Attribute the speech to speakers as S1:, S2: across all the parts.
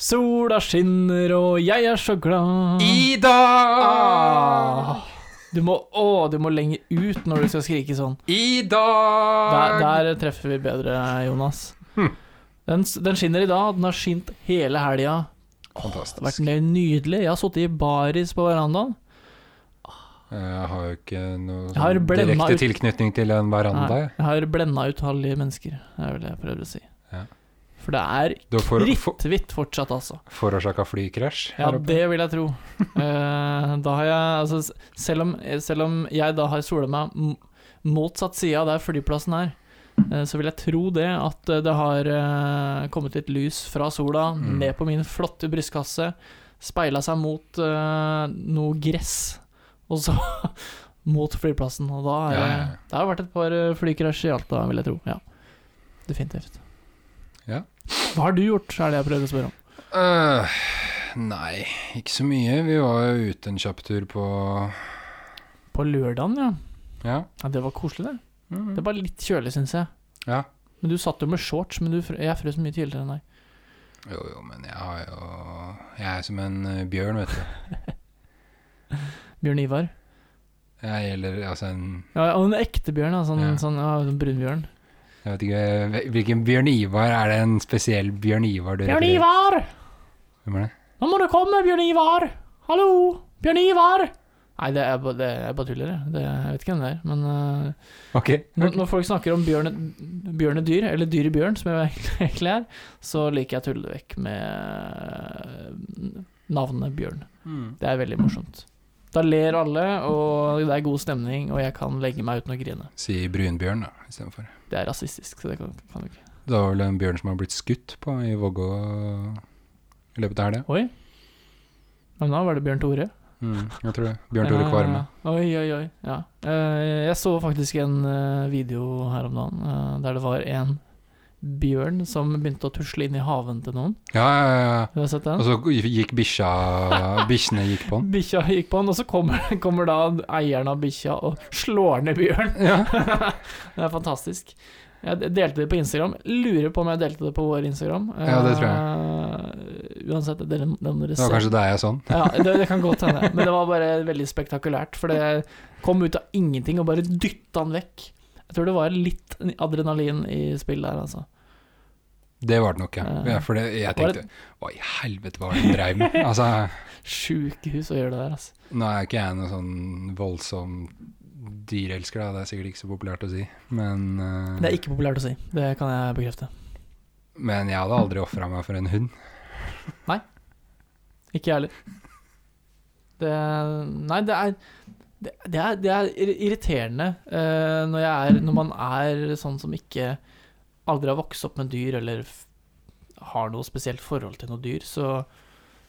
S1: Sola skinner, og jeg er så glad
S2: Ida!
S1: Mm. ah. Du må, å, du må lenger ut når du skal skrike sånn.
S2: Ida!
S1: Der, der treffer vi bedre, Jonas.
S2: Hm.
S1: Den, s- den skinner i dag. Den har skint hele helga. Det har vært
S2: Fantastisk.
S1: nø- nydelig. Jeg har sittet i baris på verandaen.
S2: Jeg har jo ikke noe
S1: Jeg har
S2: sånn
S1: blendet
S2: direkte
S1: ut-
S2: tilknytning til en
S1: Nei,
S2: veranda. jeg.
S1: jeg har blenda ut halve mennesker, er vel det jeg prøvde å si.
S2: Ja.
S1: For det er
S2: Du har for, for,
S1: kritthvitt fortsatt, altså.
S2: forårsaka flykrasj
S1: Ja,
S2: her oppe.
S1: det vil jeg tro. Eh, da har jeg Altså, s- selv om, eh, selv om jeg da har sola meg m- motsatt side av der flyplassen er, eh, så vil jeg tro det at eh, det har eh, kommet litt lys fra sola
S2: Mm.
S1: ned på min flotte brystkasse, speila seg mot eh, noe gress, og så mot flyplassen. Og da er
S2: Ja,
S1: det
S2: ja, ja.
S1: Det har vært et par eh, flykrasj i Alta, vil jeg tro. Ja. Definitivt.
S2: Ja.
S1: Hva har du gjort, er det jeg prøvde å spørre om.
S2: Øh, nei, ikke så mye. Vi var jo ute en kjapp tur på
S1: På lørdagen, ja.
S2: Ja.
S1: ja. Det var koselig, det.
S2: Mm.
S1: Det var litt kjølig, syns jeg.
S2: ja.
S1: Men du satt jo med shorts, men du, fr- jeg frøs mye tidligere enn deg.
S2: Jo, jo, men jeg har jo Jeg er som en eh, bjørn, vet du.
S1: Bjørn Ivar.
S2: Jeg gjelder altså en
S1: Ja, og en ekte bjørn, da, sånn,
S2: Ja.
S1: sånn ja, en brunbjørn.
S2: Jeg vet ikke hvil- hvilken Bjørn Ivar Er det en spesiell Bjørn Ivar du
S1: Bjørn
S2: refererer-
S1: Ivar!
S2: Hvem er det?
S1: Nå må du komme, Bjørn Ivar! Hallo! Bjørn Ivar! Nei, det er, ba- det er bare tuller, det. det. Jeg vet ikke hvem det er. Men eh,
S2: Ok.
S1: når, når folk snakker om bjørne, bjørnedyr, eller dyr i bjørn, som jeg egentlig er, så liker jeg å tulle det vekk med eh, navnet Bjørn.
S2: Mm.
S1: Det er veldig morsomt. Da ler alle, og det er god stemning, og jeg kan legge meg uten å grine.
S2: Si brunbjørn, da, istedenfor.
S1: Det er rasistisk, så det kan, kan du ikke.
S2: Det var vel en bjørn som har blitt skutt på i Vågå i løpet av helga.
S1: Oi. Men da var det Bjørn Tore.
S2: Mm, jeg tror det. Bjørn Tore
S1: Eh,
S2: Kvarme.
S1: oi, oi, oi. Ja. Eh, jeg så faktisk en eh, video her om dagen eh, der det var en bjørn som begynte å tusle inn i haven til noen.
S2: Ja, ja, ja.
S1: Har du sett
S2: Og
S1: den?
S2: så gikk bikkja Bikkjene gikk på den.
S1: Bikkja gikk på den, og så kommer, kommer da eieren av bikkja og slår ned bjørn.
S2: Ja.
S1: det er fantastisk. Jeg delte det på Instagram. Lurer på om jeg delte det på vår Instagram.
S2: Ja, det tror
S1: jeg. uansett, dere, den dere
S2: Det var kanskje deg jeg sånn.
S1: Ja, det, det kan godt hende. Men det var bare veldig spektakulært. For det kom ut av ingenting og bare dytta han vekk. Jeg tror det var litt adrenalin i spillet der, altså.
S2: Det var det nok, ja. ja for det, jeg
S1: Var det-
S2: tenkte Hva i helvete var det hun dreiv med? Altså,
S1: Sjukehus å gjøre det der, altså.
S2: nå er ikke jeg noen sånn voldsom dyrelsker, da. Det er sikkert ikke så populært å si. Men, eh,
S1: Det er ikke populært å si. Det kan jeg bekrefte.
S2: men jeg hadde aldri ofra meg for en hund.
S1: Ikke jeg heller. Det Nei, det er det, det, er, det er ir- irriterende eh, når, jeg er, når man er sånn som ikke aldri har vokst opp med dyr, eller f har noe spesielt forhold til noe dyr, så,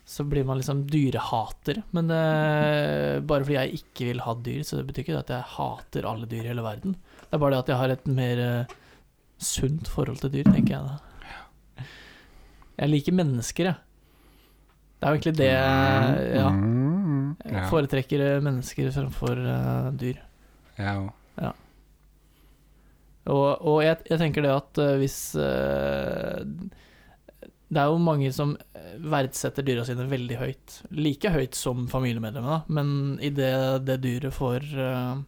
S1: så blir man liksom dyrehater. Men eh, bare fordi jeg ikke vil ha dyr, så det betyr ikke det at jeg hater alle dyr i hele verden. Det er bare det at jeg har et mer eh, sunt forhold til dyr, tenker jeg da. Jeg liker mennesker, jeg. Det er jo egentlig det Ja.
S2: Mm,
S1: Jeg
S2: ja.
S1: foretrekker eh, mennesker fremfor eh, dyr.
S2: Jeg òg.
S1: Og, og jeg, jeg tenker det at eh, hvis eh, Det er jo mange som eh, verdsetter dyra sine veldig høyt. Like høyt som familiemedlemmer, da, men idet det dyret får eh,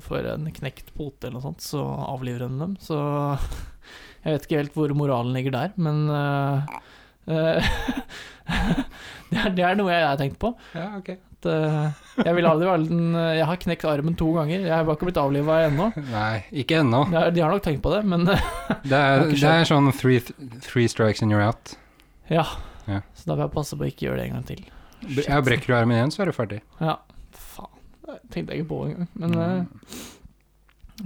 S1: Får en knekt pote eller noe sånt, så avliver hun dem. Så jeg vet ikke helt hvor moralen ligger der, men eh, eh, det, er, det er noe jeg har tenkt på.
S2: Ja, ok.
S1: At, eh, jeg vil aldri være den eh, Jeg har knekt armen to ganger. Jeg har bare ikke blitt avliva ennå.
S2: Nei, ikke ennå.
S1: De har- de har nok tenkt på det, men eh,
S2: Det er,
S1: har ikke
S2: det er sånn three, three strikes and you're out.
S1: ja.
S2: Ja.
S1: Så da vil jeg passe på å ikke gjøre det en gang til.
S2: Bre- Ja, brekker du armen igjen, så er du ferdig.
S1: Ja, faen. Det tenkte jeg ikke på engang. Men
S2: Mm.
S1: eh,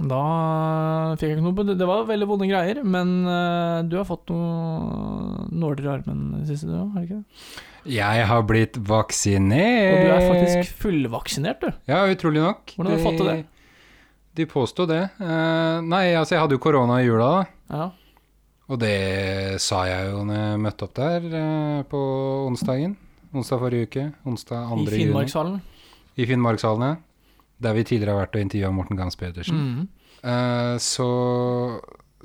S1: da fikk jeg ikke noe på det. Det var veldig vonde greier, men eh, du har fått noe nåler i armen i det siste, du òg, har du ikke det?
S2: Jeg har blitt vaksinert.
S1: Og du er faktisk fullvaksinert, du.
S2: Ja, utrolig nok.
S1: Hvordan har du fått til det?
S2: De påsto det. Eh, nei, altså jeg hadde jo korona i jula, da.
S1: Ja.
S2: Og det sa jeg jo når jeg møtte opp der eh, på onsdagen. Onsdag forrige uke. Onsdag
S1: I
S2: 2. juni.
S1: Finnmarkshallen.
S2: I Finnmarkshallen, ja. Der vi tidligere har vært og intervjua Morten Gams Pedersen.
S1: Mm.
S2: Eh, så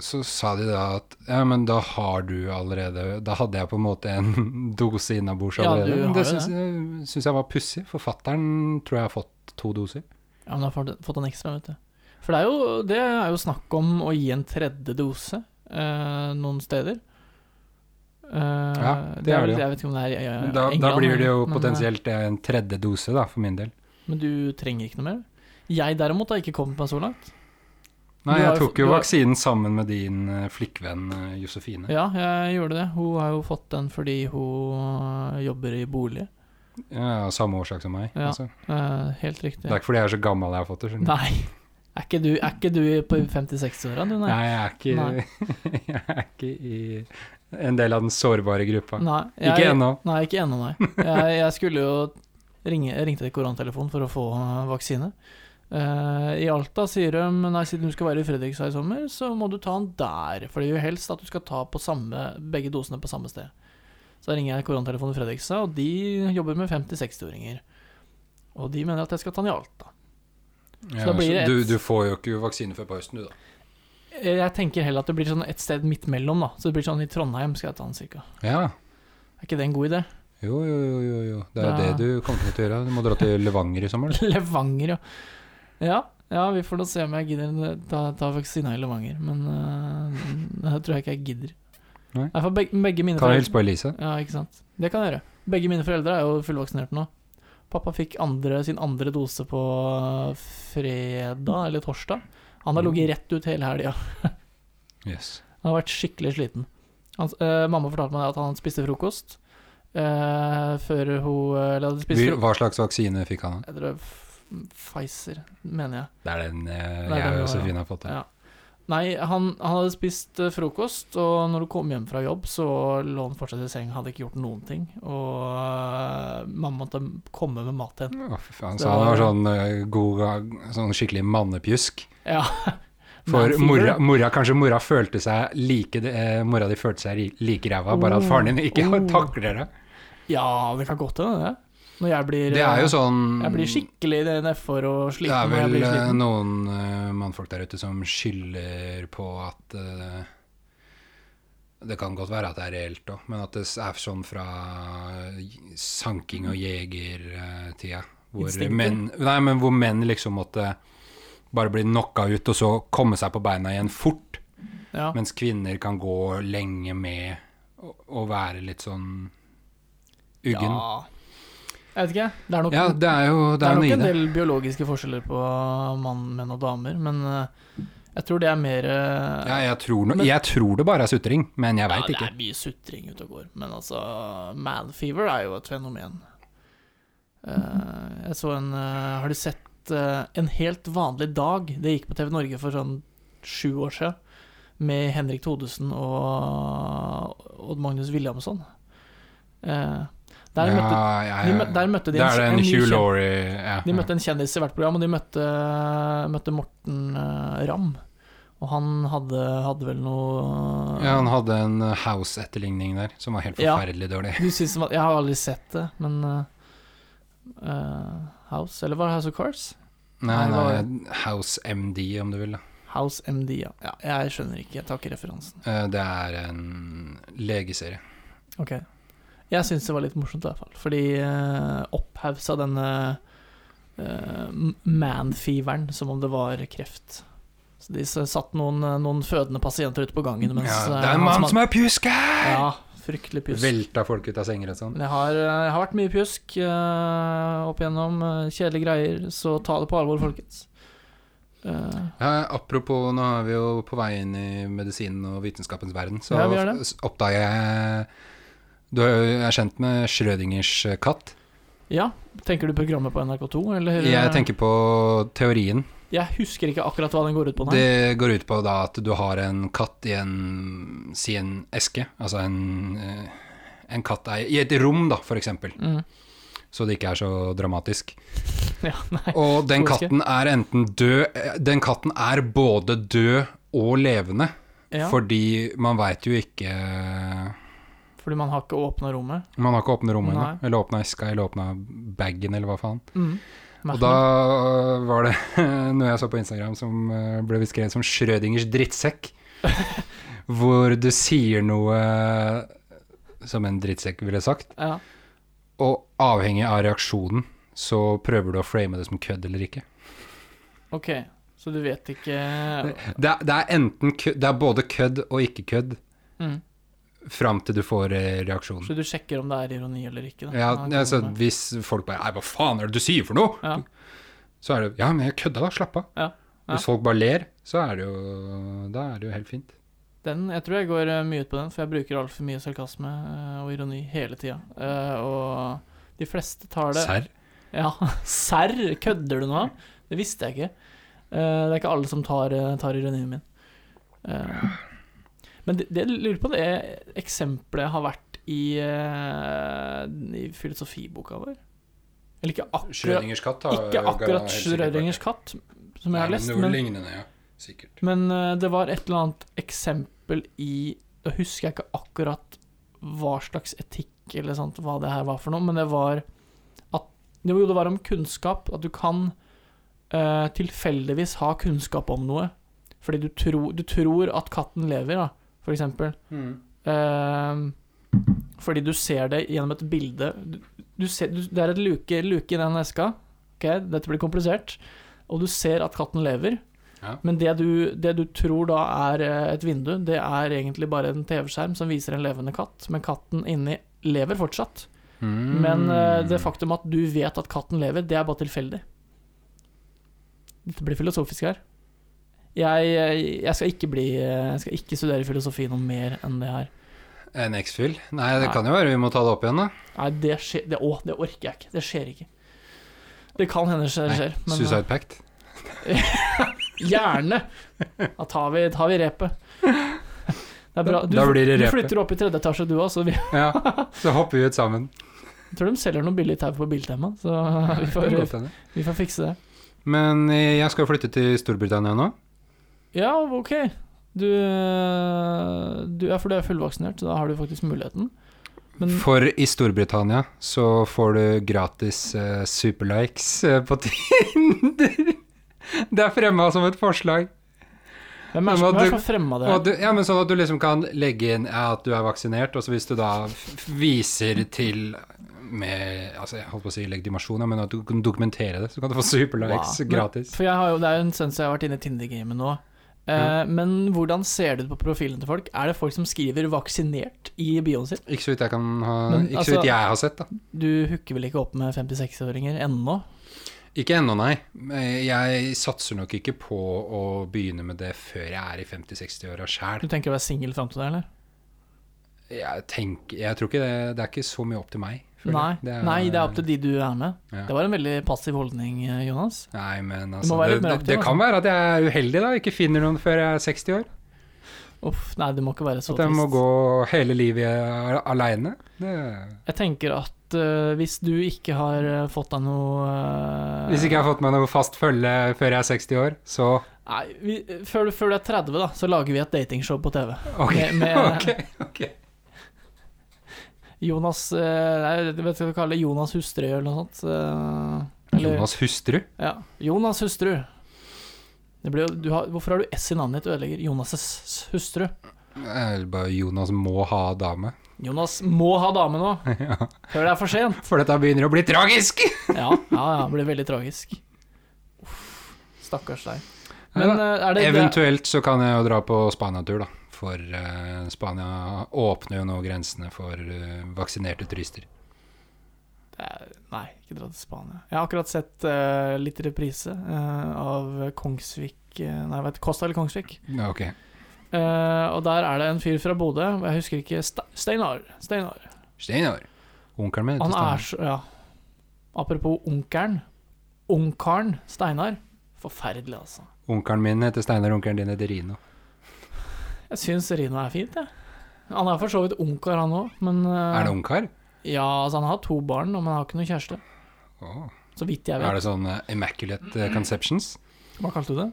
S2: så sa de da at ja, men da har du allerede Da hadde jeg på en måte en dose innabords
S1: Ja, du
S2: allerede. Men det
S1: har jo
S2: syns jeg- syns jeg var pussig. Forfatteren tror jeg har fått to doser.
S1: Ja, men da har du fått en ekstra, vet du. For det er jo, det er jo snakk om å gi en tredje dose eh, noen steder. Eh,
S2: det
S1: er
S2: er det
S1: vel-
S2: jo.
S1: Jeg vet ikke om det er i eh,
S2: Men Da, da
S1: England,
S2: blir det jo
S1: men, eh,
S2: potensielt en tredje dose, da, for min del.
S1: Men du trenger ikke noe mer. Jeg derimot har ikke kommet meg så langt.
S2: Nei,
S1: Du har
S2: jeg
S1: jo
S2: tok
S1: fått-
S2: jo
S1: du har-
S2: vaksinen sammen med din eh, flikkvenn eh, Josefine.
S1: Ja, jeg gjorde det. Hun har jo fått den fordi hun eh, jobber i bolig.
S2: Ja, av samme årsak som meg.
S1: Ja.
S2: Altså.
S1: Eh, helt riktig.
S2: Det er ikke fordi jeg er så gammel jeg har fått det. skjønner du.
S1: Nei. Er ikke du, er ikke du på 50-60-åra, du, nei?
S2: Nei, jeg er, ikke, jeg er ikke i en del av den sårbare gruppa.
S1: Nei,
S2: Ikke ennå.
S1: Nei, ikke ennå, nei. Jeg, jeg skulle jo ringe jeg ringte til koronatelefonen for å få eh, vaksine. Eh, I Alta sier de nei, siden du skal være i Fredrikstad i sommer, så må du ta den der. For det gjør helst at du skal ta på samme, begge dosene på samme sted. Så da ringer jeg koronatelefonen i Fredrikstad, og de jobber med 50-60-åringer. Og de mener at jeg skal ta den i Alta.
S2: Ja,
S1: da blir
S2: så
S1: det et-
S2: du, du får jo ikke vaksine før på høsten, du, da.
S1: Eh, Jeg tenker heller at det blir sånn et sted midt mellom, da. Så det blir sånn i Trondheim skal jeg ta den, cirka.
S2: Ja.
S1: Er ikke det en god idé?
S2: Jo, jo, jo, jo, jo. Det er jo
S1: Ja.
S2: det du kommer til å gjøre. Du må dra til Levanger i sommer. du.
S1: Levanger, ja. ja. Ja, vi får da se om jeg gidder ta, ta vaksina i Levanger. Men øh, det tror jeg ikke jeg gidder.
S2: Nei.
S1: for begge, begge mine
S2: Kan du
S1: foreldre-
S2: hilse på Elise?
S1: Ja, ikke sant. Det kan jeg gjøre. Begge mine foreldre er jo fullvaksinerte nå. Pappa fikk andre, sin andre dose på eh, fredag eller torsdag. Han har
S2: Mm.
S1: ligget rett ut hele helga.
S2: Yes.
S1: Han har vært skikkelig sliten. Han, øh, mamma fortalte meg at han spiste frokost øh, før hun Eller hadde spist
S2: Hvil-
S1: frokost
S2: Hva slags vaksine fikk han?
S1: Jeg tror det er f- Pfizer, mener jeg.
S2: Det er den eh,
S1: er
S2: jeg
S1: den,
S2: og
S1: ja.
S2: Josefine har fått.
S1: Ja. Nei, han, han hadde spist eh, frokost, og når du kom hjem fra jobb, så lå han fortsatt i seng, hadde ikke gjort noen ting. Og eh, mamma måtte komme med mat til henne.
S2: Å, fy faen.
S1: Det
S2: Så han
S1: var-
S2: var sånn eh, god ga- Sånn skikkelig mannepjusk.
S1: Ja.
S2: For
S1: Man fever.
S2: mora, mora, kanskje mora følte seg like eh, Mora di følte seg ri- like ræva, bare at
S1: Oh,
S2: faren din ikke
S1: oh.
S2: takler det.
S1: Ja, det kan godt hende, det. Når jeg blir eh,
S2: Det er jo sånn
S1: Jeg blir skikkelig nedfor og
S2: Det er
S1: sliten når jeg
S2: vel
S1: blir
S2: eh,
S1: sliten.
S2: noen eh, mannfolk der ute som skylder på at eh, Det kan godt være at det er reelt òg, men at det er sånn fra eh, sanking- og jegertida. Hvor
S1: Instinkter?
S2: menn, nei, men hvor menn liksom måtte bare bli knocka ut, og så komme seg på beina igjen fort.
S1: Ja.
S2: Mens kvinner kan gå lenge med å, å være litt sånn uggen. Ja,
S1: Ja. Jeg vet ikke, det er nok
S2: det er jo det
S1: Det er
S2: er
S1: nok en
S2: noe i det.
S1: del biologiske forskjeller på mann, menn og damer, men eh, jeg tror det er mer eh,
S2: Ja, jeg, tror no,
S1: Men-
S2: jeg tror det bare er sutring, men jeg veit
S1: Ja, det
S2: ikke.
S1: er mye sutring ute og går, men altså Manfever er jo et fenomen. Eh, jeg så en eh, Har du sett eh, En helt vanlig dag? Det gikk på TV Norge for sånn sju år siden. Med Henrik Thodesen og Odd Magnus Williamson. Eh, der,
S2: ja,
S1: møtte,
S2: ja,
S1: de
S2: ja.
S1: mø- der møtte de
S2: Da
S1: en-
S2: er det
S1: en
S2: en
S1: ny
S2: Hugh
S1: kjent-
S2: Laurie ja,
S1: de møtte en kjendis i hvert program, og de møtte, møtte Morten eh, Ramm. Og han hadde, hadde vel noe
S2: ja, Han hadde en uh, House-etterligning der som var helt
S1: Ja.
S2: forferdelig dårlig.
S1: Du synes den var- Jeg har aldri sett det, men eh, eh, House, eller var det House of Cars?
S2: Nei,
S1: Nei, det var-
S2: nei, House MD, om du vil. da.
S1: House MD, ja. ja. Jeg skjønner ikke, jeg tar ikke referansen.
S2: Eh, Det er en legeserie.
S1: Ok. Jeg syns det var litt morsomt, i hvert fall. Fordi uh, opphausa denne uh, manfeveren som om det var kreft. Så de s- satt noen, eh, noen fødende pasienter ute på gangen mens
S2: Ja,
S1: eh,
S2: det er en
S1: han
S2: mann som
S1: hadde-
S2: er pjusk her!
S1: Ja, fryktelig pjusk.
S2: Velta folk ut av senger og sånn.
S1: Men jeg har, eh, jeg har vært mye pjusk eh, opp igjennom. eh, kjedelige greier, så ta det på alvor, folkens. Eh,
S2: Ja, apropos, nå er vi jo på vei inn i medisinen og vitenskapens verden, så
S1: Ja, vi er det.
S2: s- oppdager jeg Du er jo- jeg er kjent med Schrødingers eh, katt.
S1: ja, tenker du programmet på NRK2, eller?
S2: Jeg tenker på teorien.
S1: Jeg husker ikke akkurat hva den går ut på, nei.
S2: Det går ut på da at du har en katt i en Si en eske, altså en eh, en katt er i et rom, da, for eksempel,
S1: Mm.
S2: så det ikke er så dramatisk.
S1: Ja, nei.
S2: Og den
S1: Tror jeg
S2: katten er enten død eh, Den katten er både død og levende,
S1: Ja,
S2: fordi man veit jo ikke
S1: fordi man har ikke åpna rommet.
S2: Man har ikke åpna rommet ennå.
S1: Nei.
S2: Eller åpna eska, eller åpna bagen, eller hva faen.
S1: Mm.
S2: Og da eh, øh, var det noe jeg så på Instagram som øh, ble beskrevet som Schrødingers drittsekk. hvor du sier noe som en drittsekk ville sagt,
S1: Ja.
S2: og avhengig av reaksjonen så prøver du å frame det som kødd eller ikke.
S1: Ok, så du vet ikke
S2: Det, er- det er enten kødd, det er både kødd og ikke kødd
S1: mm.
S2: fram til du får eh, reaksjonen.
S1: Så du sjekker om det er ironi eller ikke? Da.
S2: Ja,
S1: det
S2: altså,
S1: kommer.
S2: hvis folk bare Nei, hva faen er det du sier for noe?!
S1: ja.
S2: Så er det Ja, men jeg kødda, da. Slapp av.
S1: Ja, ja.
S2: Hvis folk bare ler, så er det jo Da er det jo helt fint.
S1: Den, jeg tror jeg går eh, mye ut på den, for jeg bruker altfor mye sarkasme eh, og ironi hele tida. Eh, og de fleste tar det
S2: Serr?
S1: Ja, serr? Kødder du nå? Det visste jeg ikke. Eh, det er ikke alle som tar, eh, tar ironien min. Eh, men det, det jeg lurer på, det er eksempelet har vært i, eh, i filosofiboka vår. Eller ikke akkurat,
S2: Schrødingers katt
S1: ikke akkurat Schrødingers katt, som jeg har lest, men
S2: lignende, ja. Sikkert.
S1: Men eh, det var et eller annet eksempel i Da husker jeg ikke akkurat hva slags etikk eller sånt, hva det her var for noe, men det var at Jo, jo, det var om kunnskap. At du kan eh, tilfeldigvis ha kunnskap om noe. Fordi du, tror- du tror at katten lever, da, for eksempel. Ehm, fordi du ser det gjennom et bilde. Du, du ser, du, det er et luke, luke i den eska. Ok, Dette blir komplisert. Og du ser at katten lever.
S2: Ja.
S1: Men det du, det du tror da er eh, et vindu, det er egentlig bare en TV-skjerm som viser en levende katt. Men katten inni lever fortsatt.
S2: Mm.
S1: Men eh, det faktum at du vet at katten lever, det er bare tilfeldig. Dette blir filosofisk her. Jeg, eh, jeg, skal, ikke bli, eh, jeg skal ikke studere filosofi noe mer enn det her.
S2: En X-fyll? Nei, det
S1: Nei.
S2: kan jo være vi må ta det opp igjen, da.
S1: Nei, det skjer det, Å, det orker jeg ikke. Det skjer ikke. Det kan hende det skjer,
S2: Nei,
S1: skjer, men
S2: Suicide Pact.
S1: eh, gjerne! Da tar vi, tar vi repet. Det er bra. Du,
S2: Da blir det
S1: du
S2: repet.
S1: flytter opp i tredje etasje, du òg, så vi
S2: Ja, så hopper vi ut sammen.
S1: jeg tror de selger noe billig tau på Biltema, så vi får,
S2: Godt hende.
S1: vi får fikse det.
S2: Men eh, jeg skal flytte til Storbritannia nå.
S1: Ja, ok. Du, eh, du Ja, for du er fullvaksinert, så da har du faktisk muligheten. Men
S2: For i Storbritannia så får du gratis eh, superlikes eh, på Tinder. Det er fremma som et forslag.
S1: hvem er det
S2: men
S1: som- hvem er det
S2: du-
S1: som har fremma det?
S2: Og
S1: her?
S2: du, ja, men sånn at du liksom kan legge inn ja, at du er vaksinert, og så hvis du da f- viser til med altså jeg holdt på å si legitimasjon, ja, men at du kan dokumentere det, så kan du få superlikes
S1: Wow. Men-
S2: gratis.
S1: For jeg har jo, det er jo en stund siden jeg har vært inne i Tinder-gamet nå. Eh,
S2: Ja.
S1: Men hvordan ser det ut på profilen til folk? Er det folk som skriver 'vaksinert' i bioen sin?
S2: Ikke så vidt jeg kan ha
S1: Men,
S2: Ikke
S1: altså-
S2: så vidt jeg har sett, da.
S1: Du hooker vel ikke opp med 56-åringer ennå?
S2: Ikke ennå, nei. Men Jeg satser nok ikke på å begynne med det før jeg er i 50-60-åra
S1: Du
S2: sjæl.
S1: tenker å være singel fram til det, eller?
S2: Jeg, tenker- jeg tror ikke det Det er ikke så mye opp til meg. føler
S1: Nei.
S2: jeg.
S1: Nei, det er opp til de du er med.
S2: Ja.
S1: Det var en veldig passiv holdning, eh, Jonas.
S2: Nei, men
S1: må
S2: altså
S1: være
S2: Det,
S1: litt mer
S2: det,
S1: aktiv,
S2: det
S1: altså.
S2: kan være at jeg er uheldig, da. Ikke finner noen før jeg er 60 år.
S1: Uff, nei, det må ikke være så
S2: At jeg må
S1: trist.
S2: gå hele livet aleine. Hvis
S1: Jeg tenker at eh, hvis du ikke har eh, fått deg noe eh,
S2: ikke jeg har fått meg noe fast følge før jeg er 60 år, så
S1: Nei, vi, før, du- før du er 30, da, så lager vi et datingshow på TV.
S2: OK.
S1: Med- med-
S2: ok, ok.
S1: Jonas eh, nei, Jeg vet ikke hva jeg kaller det, Jonas hustru eller noe sånt. eh, Eller,
S2: Jonas hustru?
S1: Ja. Jonas hustru. Det blir, jo- du har, hvorfor har du S i navnet ditt? Du ødelegger Jonas' hustru.
S2: Eh, Bare Jonas må ha dame.
S1: Jonas må ha dame nå, før det er for sent.
S2: For dette begynner å bli tragisk!
S1: Ja, ja, ja det blir veldig tragisk. Uff, stakkars deg. Men
S2: Neida.
S1: eh, er det, det
S2: Eventuelt så kan jeg jo dra på Spania-tur, da. For eh, Spania åpner jo nå grensene for eh, vaksinerte turister.
S1: det er- Nei, ikke dra til Spania. Jeg har akkurat sett eh, litt reprise eh, av Kongsvik eh, Nei, vet du, Kosta eller Kongsvik?
S2: Ja, Ok.
S1: Eh, og der er det en fyr fra Bodø, og jeg husker ikke Ste- Steinar. Steinar.
S2: Steinar. Onkelen min
S1: Han
S2: heter
S1: er
S2: Steinar.
S1: så Ja. Apropos onkelen. Onkelen Steinar. Forferdelig, altså.
S2: Onkelen min heter Steinar, onkelen din heter Rino.
S1: Jeg syns Rino er fint, jeg. Han er for så vidt ungkar, han òg, men eh,
S2: Er det ungkar?
S1: Ja, altså han har to barn, men han har ikke noen kjæreste.
S2: Åh.
S1: Så vidt jeg
S2: Er
S1: vet.
S2: det sånn eh, immaculate eh, conceptions?
S1: Hva kalte du det?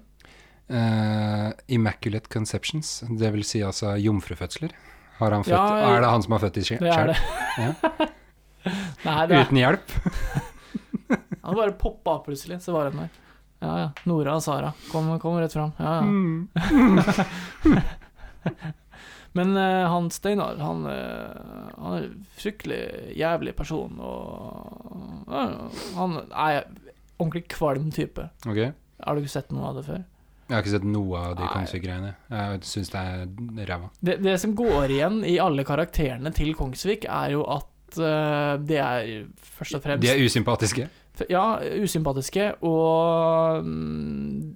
S2: Eh, immaculate conceptions, det vil si altså jomfrufødsler. Har han født,
S1: Ja, ja.
S2: Er det han som har født de sjøl?
S1: Det er det. Nei, det er,
S2: Uten hjelp?
S1: han bare poppa av plutselig, så var han der. Ja ja. Nora og Sara kom, kom rett fram. Ja ja.
S2: Mm.
S1: Men eh, han Steinar, han, eh, han er en fryktelig jævlig person, og ja, han er ordentlig kvalm type.
S2: Ok? Jeg
S1: Har du ikke sett noe av det før?
S2: har ikke sett noe av de
S1: Nei.
S2: Kongsvik-greiene. Jeg syns det er ræva.
S1: Det, det som går igjen i alle karakterene til Kongsvik, er jo at eh, de er først og fremst
S2: De er usympatiske.
S1: f- Ja, usympatiske, og mm,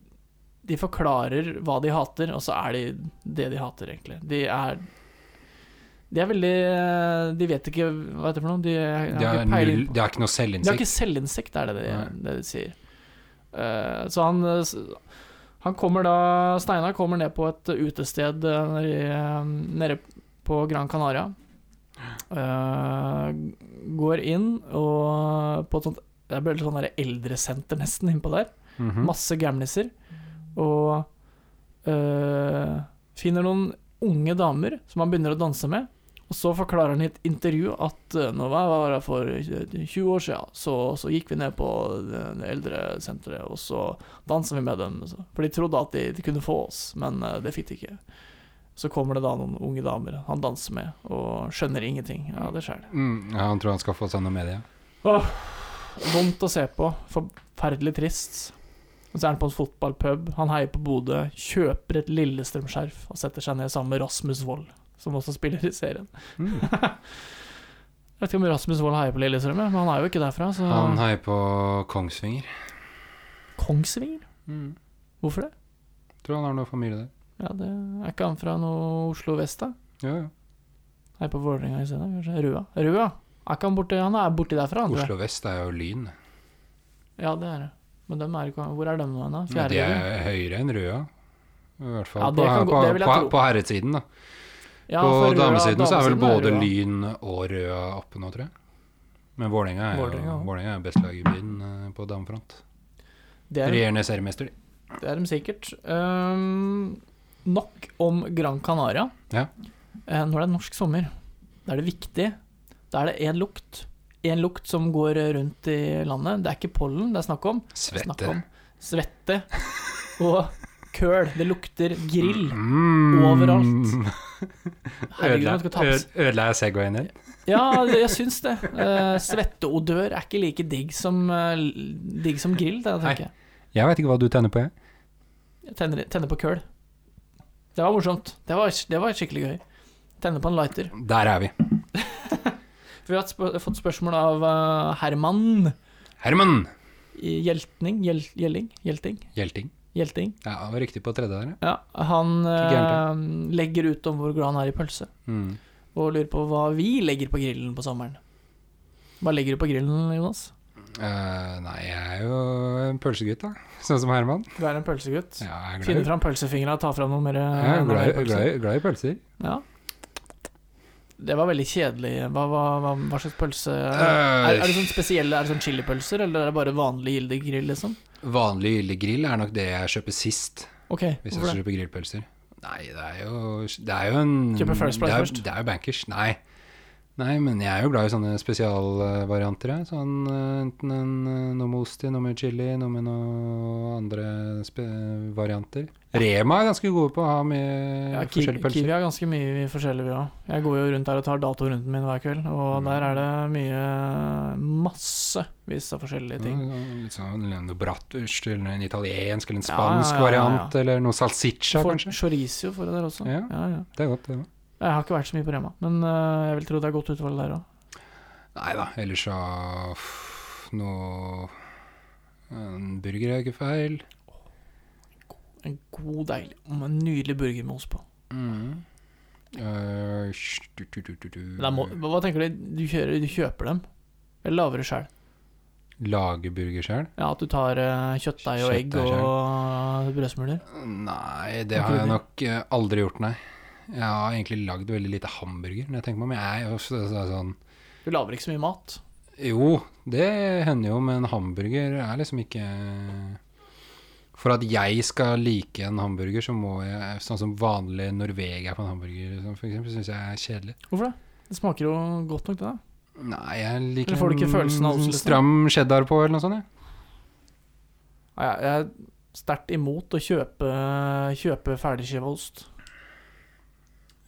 S1: de forklarer hva de hater, og så er de det de hater, egentlig. De er De er veldig eh, De vet ikke Hva heter det for noe? De, har
S2: De har,
S1: ikke peiling
S2: null,
S1: på-
S2: de har ikke noe
S1: de har
S2: selvinnsikt.
S1: ikke selvinnsikt, er det det,
S2: Nei.
S1: det de sier. Eh, så han eh, s- Han kommer da Steinar kommer ned på et utested eh, nede, i, eh, nede på Gran Canaria. Eh, går inn og på et sånt Det er bare et sånt der eldresenter nesten innpå der.
S2: Mhm.
S1: Masse gamliser. Og øh, finner noen unge damer som han begynner å danse med. Og så forklarer han i et intervju at øh, nå var var det for øh, 20 år siden, så, så gikk vi ned på det det eldresenteret, og så dansa vi med dem. og så- For de trodde at de, de kunne få oss, men øh, det fikk de ikke. Så kommer det da noen unge damer han danser med, og skjønner ingenting. Ja, det skjer.
S2: Mm, ja, han tror han skal få seg noe medie.
S1: Vondt å se på. Forferdelig trist. Og så er han på en fotballpub. Han heier på Bodø, kjøper et Lillestrøm-skjerf og setter seg ned sammen med Rasmus Wold, som også spiller i serien.
S2: Mm.
S1: Jeg vet ikke om Rasmus Wold heier på Lillestrøm, jeg, men han er jo ikke derfra, så
S2: Han heier på Kongsvinger.
S1: Kongsvinger?
S2: Mm.
S1: Hvorfor det?
S2: Tror han har noe familie der.
S1: Ja, det Er ikke han fra noe Oslo vest, da?
S2: Ja, ja.
S1: Heier på Vålerenga i stedet, kanskje? Røa? Røa? Er ikke han borti Han er borti derfra, han, tror jeg.
S2: Oslo vest er jo Lyn.
S1: Ja, det er det. Men dem er ikke Hvor er de nå, hen, da?
S2: Ja,
S1: Fjerde?
S2: de
S1: Ja,
S2: er høyere enn Røa. I hvert fall
S1: Ja, det
S2: på,
S1: kan gå-
S2: på,
S1: det vil jeg
S2: på,
S1: tro.
S2: på herresiden, da.
S1: ja,
S2: på
S1: for Røa-
S2: damesiden så er vel både
S1: Røa.
S2: Lyn og Røa oppe nå, tror jeg. Men Vålerenga er, jo-
S1: Vålerenga, ja.
S2: Vålerenga er best lag i byen eh, på damefront.
S1: Det er
S2: Regjerende seriemester, de.
S1: Det er de sikkert. Ehm, nok om Gran Canaria.
S2: Ja.
S1: Eh, når det er norsk sommer, da er det viktig. Da er det én lukt. Én lukt som går rundt i landet. Det er ikke pollen det er snakk om. Det er Snakk
S2: Svette.
S1: om svette og køl. Det lukter grill.
S2: Mm.
S1: overalt. Herregud,
S2: Ødela
S1: man skal ta på seg
S2: ø- ødela jeg Segwayen din?
S1: Ja, jeg syns det. Eh, svetteodør er ikke like digg som, eh, digg som grill, det
S2: Nei.
S1: tenker jeg.
S2: Jeg veit ikke hva du tenner på, jeg.
S1: Jeg tenner, tenner på køl. Det var morsomt. Det var, det var skikkelig gøy. Tenne på en lighter.
S2: Der er vi.
S1: For vi har hatt spør- fått spørsmål av eh, Herman
S2: Herman
S1: i Hjeltning Gjel, Gjelling? Hjelting?
S2: Hjelting.
S1: Hjelting.
S2: Ja, det var riktig på tredje der, ja.
S1: Ja, han eh,
S2: Ikke
S1: legger ut om hvor glad han er i pølse,
S2: Mm.
S1: og lurer på hva vi legger på grillen på sommeren. Hva legger du på grillen, Jonas?
S2: Eh, nei, jeg er jo en pølsegutt, da. Sånn som Herman.
S1: Du er en pølsegutt.
S2: Ja, jeg er glad
S1: Finne
S2: i-
S1: fram pølsefingra, ta fram noe mer
S2: jeg er
S1: noe
S2: glad,
S1: mer
S2: i- glad, i- glad i pølser.
S1: Ja. Det var veldig kjedelig. Hva, hva, hva, hva slags pølse
S2: Eh,
S1: er, er det sånn spesielle Er det sånn chilipølser, eller er det bare vanlig Gilde grill, liksom?
S2: Vanlig grillegrill er nok det jeg kjøper sist,
S1: Ok,
S2: hvis jeg
S1: hvorfor det?
S2: kjøper grillpølser. Nei, det er jo Det er jo en
S1: Kjøper first price
S2: det er,
S1: først.
S2: Det er jo bankers. Nei. Nei, men jeg er jo glad i sånne spesialvarianter. jeg. Sånn eh, enten en, eh, noe med ost i, noe med chili, noe med noe andre spe varianter. Rema er ganske gode på å ha med
S1: Ja, Ki-
S2: forskjellige pølser.
S1: Kiwi har ganske mye forskjellig, vi òg. Jeg går jo rundt der og tar datorunden min hver kveld, og
S2: Mm.
S1: der er det mye Massevis av forskjellige ting.
S2: Ja, litt sånn noe bratwurst eller en italiensk eller en
S1: Ja,
S2: spansk
S1: ja, ja, ja, ja.
S2: variant, eller noe salsiccia,
S1: For,
S2: kanskje.
S1: chorizo får jeg der også.
S2: Ja.
S1: Ja, ja.
S2: Det er godt, det òg.
S1: Jeg har ikke vært så mye på Rema, men øh, jeg vil tro det er godt utvalg der òg.
S2: Nei da, ellers så pff, noe En burger er ikke feil.
S1: En god, deilig mm, En nydelig burger med ost på.
S2: Mm. Eh, sh- du, du, du, du, du.
S1: Men da må, hva tenker du? Du, kjører, du kjøper dem? Eller lager du sjøl?
S2: Lage burger sjøl?
S1: Ja, at du tar eh, kjøttdeig og egg
S2: Kjøttdeig selv.
S1: og brødsmuler?
S2: Nei, det
S1: Har
S2: har
S1: ikke
S2: jeg
S1: du
S2: nok eh, aldri gjort, nei. Jeg har egentlig lagd veldig lite hamburger, når jeg tenker meg om. Jeg er jo så- så- sånn
S1: Du lager ikke så mye mat.
S2: Jo, det hender jo, men hamburger er liksom ikke For at jeg skal like en hamburger, så må jeg Sånn som vanlig Norvegia på en hamburger, liksom, for eksempel, syns jeg er kjedelig.
S1: Hvorfor det? Det smaker jo godt nok, det. da
S2: Nei, jeg liker
S1: Eller får du ikke
S2: en
S1: følelsen av ost, liksom?
S2: stram cheddar på, eller noe sånt. jeg.
S1: Nei, Jeg jeg er sterkt imot å kjøpe, kjøpe ferdigskiva ost.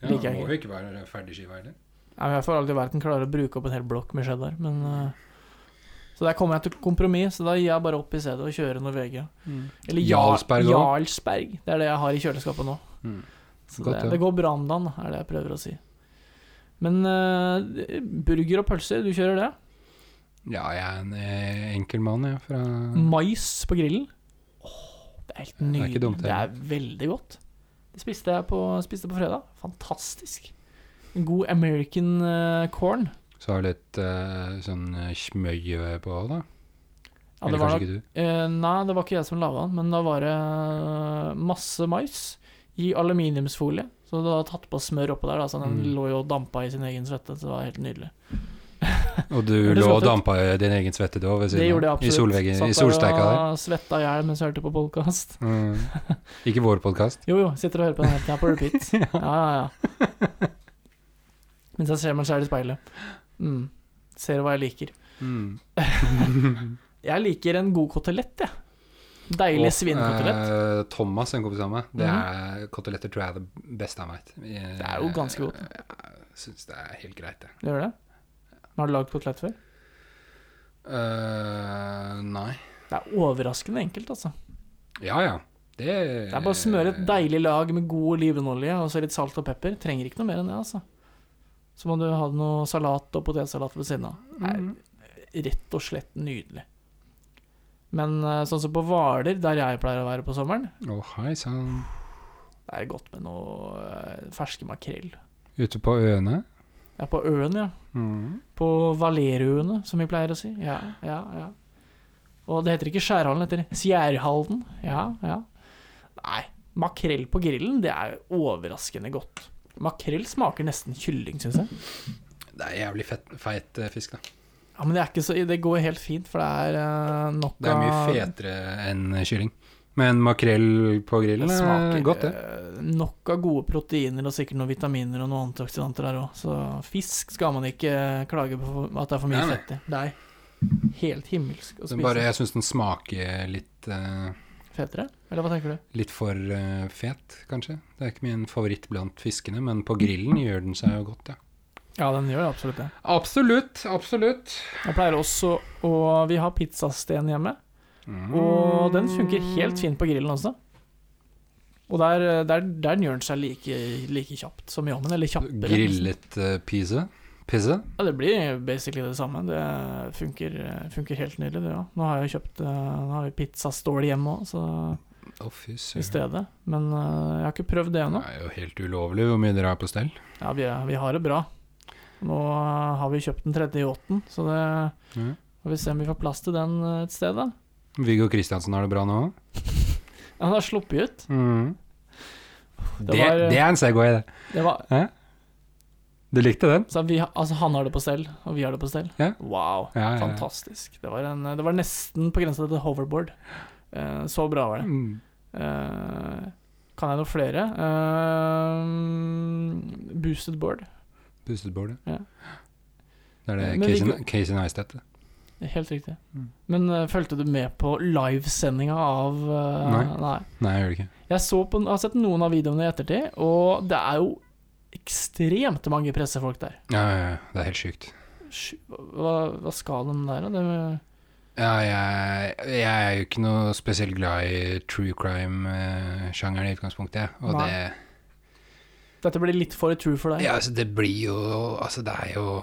S2: Ja,
S1: Liker jeg
S2: må
S1: ikke.
S2: jo ikke være ferdigskiva heller.
S1: Nei, men Jeg får aldri i verden klare å bruke opp en hel blokk med cheddar, men eh, Så der kommer jeg til kompromiss, så da gir jeg bare opp i stedet og kjører Norvegia. Eller Jarl-
S2: Jarlsberg også.
S1: Jarlsberg. Det er det jeg har i kjøleskapet nå.
S2: Mm.
S1: Så
S2: Godt,
S1: det,
S2: ja.
S1: det går bra om dagen, da, er det jeg prøver å si. Men eh, burger og pølser, du kjører det?
S2: Ja, jeg er en eh, enkel mann, jeg. Fra
S1: Mais på grillen? Åh, det er helt
S2: Mm. er
S1: nydelig.
S2: ikke dumt,
S1: det er veldig godt. Det spiste jeg på, spiste på fredag. Fantastisk. En god American eh, corn.
S2: Så har du litt eh, sånn eh, smøye på, da.
S1: Ja, det
S2: Eller
S1: var
S2: kanskje
S1: nok
S2: ikke du.
S1: Eh, nei, det var ikke jeg som laga den, men da var det eh, masse mais i aluminiumsfolie. Så du hadde tatt på smør oppå der, da, så den
S2: Mm.
S1: lå jo og dampa i sin egen svette. Så det var helt nydelig.
S2: Og du
S1: Hørtes
S2: lå
S1: godt
S2: og
S1: ut.
S2: dampa i din egen svette da, ved
S1: det
S2: siden
S1: gjorde jeg
S2: I,
S1: absolutt.
S2: solveggen,
S1: Satt
S2: i solsteika der.
S1: og svetta i hjel mens jeg hørte på podkast.
S2: Mm. Ikke vår podkast.
S1: Jo, jo, sitter og hører på den helt her på repeat. ja, ja, ja. Mens jeg ser meg sjæl i speilet. Mm. Ser hva jeg liker.
S2: Mm.
S1: Jeg liker en god kotelett, jeg. Deilig svinkotelett.
S2: eh, Thomas, en kompis av meg, det er koteletter tror jeg er det beste han veit.
S1: Det er jo ganske godt.
S2: Jeg syns det er helt greit, jeg.
S1: Gjør det? Har du lagd kotelett før?
S2: Eh, nei.
S1: Det er overraskende enkelt, altså.
S2: Ja ja. Det,
S1: Det er bare å
S2: Eh.
S1: smøre et deilig lag med god olivenolje og så litt salt og pepper. Trenger ikke noe mer enn det, altså. Så må du ha noe salat og potetsalat ved siden av. Det
S2: Mhm.
S1: er rett og slett nydelig. Men eh, sånn som på Hvaler, der jeg pleier å være på sommeren,
S2: Å, hei sann.
S1: det er godt med noe eh, ferske makrell.
S2: Ute på øene.
S1: Ja, på øen, ja.
S2: Mm.
S1: På Valerøene, som vi pleier å si. Ja, ja, ja. Og det heter ikke Skjærhallen, det heter Skjærhalden. Ja, ja. Nei, makrell på grillen, det er overraskende godt. Makrell smaker nesten kylling, syns jeg.
S2: Det er jævlig fett, feit eh, fisk, da.
S1: Ja, Men det, er ikke så, det går helt fint, for det er eh, nok
S2: Det er mye
S1: av-
S2: fetere enn kylling. Men makrell på
S1: Det
S2: grillen
S1: smaker
S2: er godt, det.
S1: eh, Nok av gode proteiner og sikkert noen vitaminer og noen antioksidanter der òg. Så fisk skal man ikke klage på for- at det er for mye
S2: Nei, nei.
S1: fett i. Det er helt himmelsk å
S2: Den
S1: spise.
S2: bare, jeg syns den smaker litt eh,
S1: Fetere? Eller hva tenker du?
S2: Litt for eh, fet, kanskje. Det er ikke min favoritt blant fiskene, men på grillen gjør den seg jo godt, ja.
S1: Ja, den gjør absolutt det.
S2: Absolutt, absolutt.
S1: Jeg pleier også å Vi har pizzasten hjemme,
S2: Mm.
S1: og den funker helt fint på grillen også. Og der, der, der gjør den seg like, like kjapt som i ovnen, eller kjappere.
S2: Grillet uh, pise. Pisse?
S1: Ja, det blir basically det samme. Det funker, funker helt nydelig, det òg. Nå har jeg jo kjøpt eh, Nå har vi pizzastål hjemme òg, så
S2: Å, fy
S1: i
S2: søren.
S1: stedet. Men eh, jeg har ikke prøvd det
S2: Det
S1: ennå.
S2: er jo helt ulovlig hvor mye dere har på stell.
S1: Ja, vi, er- vi har det bra. Nå eh, har vi kjøpt den tredje i åtten, så det
S2: Ja.
S1: får vi se om vi får plass til den eh, et sted, da.
S2: Viggo Kristiansen har det bra nå òg.
S1: Ja, Han har sluppet ut.
S2: Mm. Det, det,
S1: var-
S2: er en segway, det.
S1: Det var,
S2: Du likte den?
S1: så vi, har- altså han har det på stell, og vi har det på stell.
S2: Ja.
S1: Wow,
S2: Ja, ja, ja.
S1: fantastisk. Det var, en, det var nesten på grensa til hoverboard. Eh, så bra var det.
S2: Mm.
S1: Eh, kan jeg noe flere? Eh, boosted board.
S2: Pustet bål,
S1: Ja.
S2: Det er
S1: Men
S2: det Casey,
S1: Viggo-
S2: Casey Neistat. det.
S1: Helt riktig.
S2: Mm.
S1: Men eh, fulgte du med på livesendinga av eh,
S2: Nei.
S1: nei.
S2: Nei, jeg gjør det ikke.
S1: Jeg, så på, jeg har sett noen av videoene i ettertid, og det er jo ekstremt mange pressefolk der.
S2: Ja, ja, ja. Det er helt sjukt.
S1: Sju- Hva, hva skal de der, da? Det-
S2: Ja, jeg, jeg er jo ikke noe spesielt glad i true crime-sjangeren i utgangspunktet. jeg. Og
S1: Nei.
S2: det,
S1: Dette blir litt for true for deg.
S2: ja, altså, det blir jo Altså, det er jo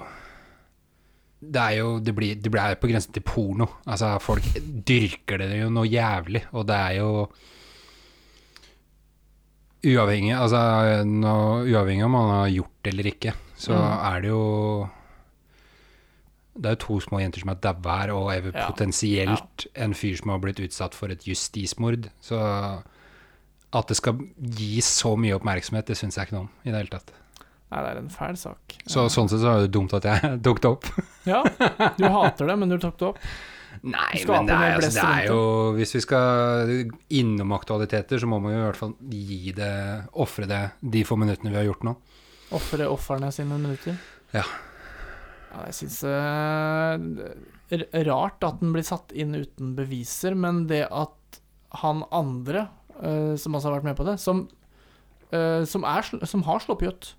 S2: Det er jo Det blir, det blir på grensen til porno. Altså, folk dyrker det jo noe jævlig, og det er jo Uavhengig Altså, nå, uavhengig om man har gjort det eller ikke, så
S1: Mm.
S2: er det jo det er jo to små jenter som er daua her, og ev-
S1: Ja.
S2: potensielt en fyr som har blitt utsatt for et justismord. Så at det skal gi så mye oppmerksomhet, det syns jeg ikke noe om i det hele tatt.
S1: Nei, det er en fæl sak.
S2: Så sånn sett så er det dumt at jeg dukket opp.
S1: Ja, du hater det, men du tok det opp.
S2: Nei,
S1: Skaper
S2: men det er,
S1: mer
S2: altså,
S1: blest
S2: det
S1: rundt
S2: er jo Hvis vi skal innom aktualiteter, så må man jo i hvert fall gi det Ofre det de få minuttene vi har gjort nå.
S1: Ofre ofrene sine minutter.
S2: Ja.
S1: Ja, jeg syns Rart at den blir satt inn uten beviser, men det at han andre, eh, som også har vært med på det, som, eh, som, er, sl- som har sluppet ut,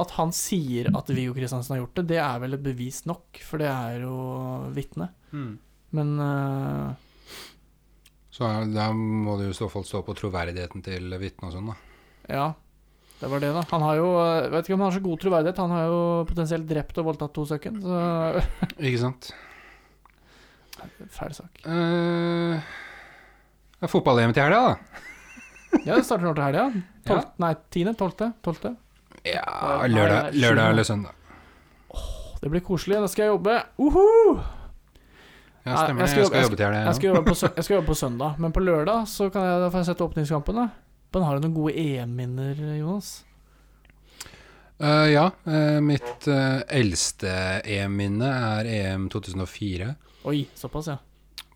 S1: at han sier at Viggo Kristiansen har gjort det, det er vel et bevis nok, for det er jo vitne.
S2: Hmm.
S1: Men eh,
S2: Så er- da må det jo i så fall stå på troverdigheten til vitnet og sånn, da.
S1: ja, det var det, da. Han har jo Jeg vet ikke om han har så god troverdighet, han har jo potensielt drept og voldtatt to søkken, så
S2: Ikke sant?
S1: Fæl sak.
S2: Eh, det er fotball-EM til helga, da.
S1: Ja, det starter nå til helga.
S2: Ja.
S1: Tolv- Nei, tiende? Tolvte? Tolvte?
S2: Ja, lørdag, lørdag eller søndag.
S1: Det blir koselig, da skal jeg jobbe. Uhu!
S2: Ja, stemmer
S1: Jeg
S2: det.
S1: skal jobbe-
S2: Jeg skal jobbe til
S1: Jeg
S2: helga.
S1: skal, jobbe på, sø- jeg skal jobbe på søndag, men på lørdag så kan jeg, da får jeg sette åpningskampen. da. Men har du noen gode EM-minner, Jonas?
S2: Ja, Eh, ja eh, mitt eh, eldste EM-minne er EM 2004.
S1: Oi, såpass, ja.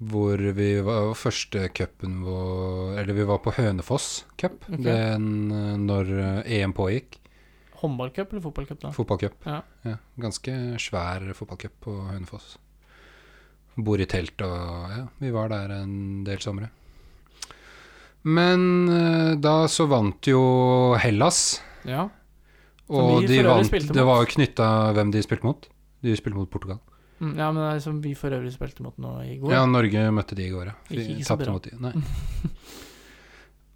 S2: Hvor vi var første cupen vår Eller vi var på Hønefoss cup.
S1: Ok.
S2: Den, eh, når eh, EM pågikk.
S1: Håndballcup eller fotballcup? da?
S2: Fotballcup.
S1: Ja.
S2: Ja, ganske svær fotballcup på Hønefoss. Bor i telt og Ja, vi var der en del somre. Men eh, da så vant jo Hellas,
S1: Ja. Som
S2: og
S1: vi
S2: de
S1: for øvrig
S2: vant
S1: spilte
S2: Det
S1: mot.
S2: var jo knytta hvem de spilte mot. De spilte mot Portugal.
S1: Mm, ja, men det er som vi for øvrig spilte mot nå i går.
S2: Ja, Norge møtte de i går, ja. Vi
S1: Ikke- ikke så
S2: tapte
S1: bra.
S2: mot de. Nei.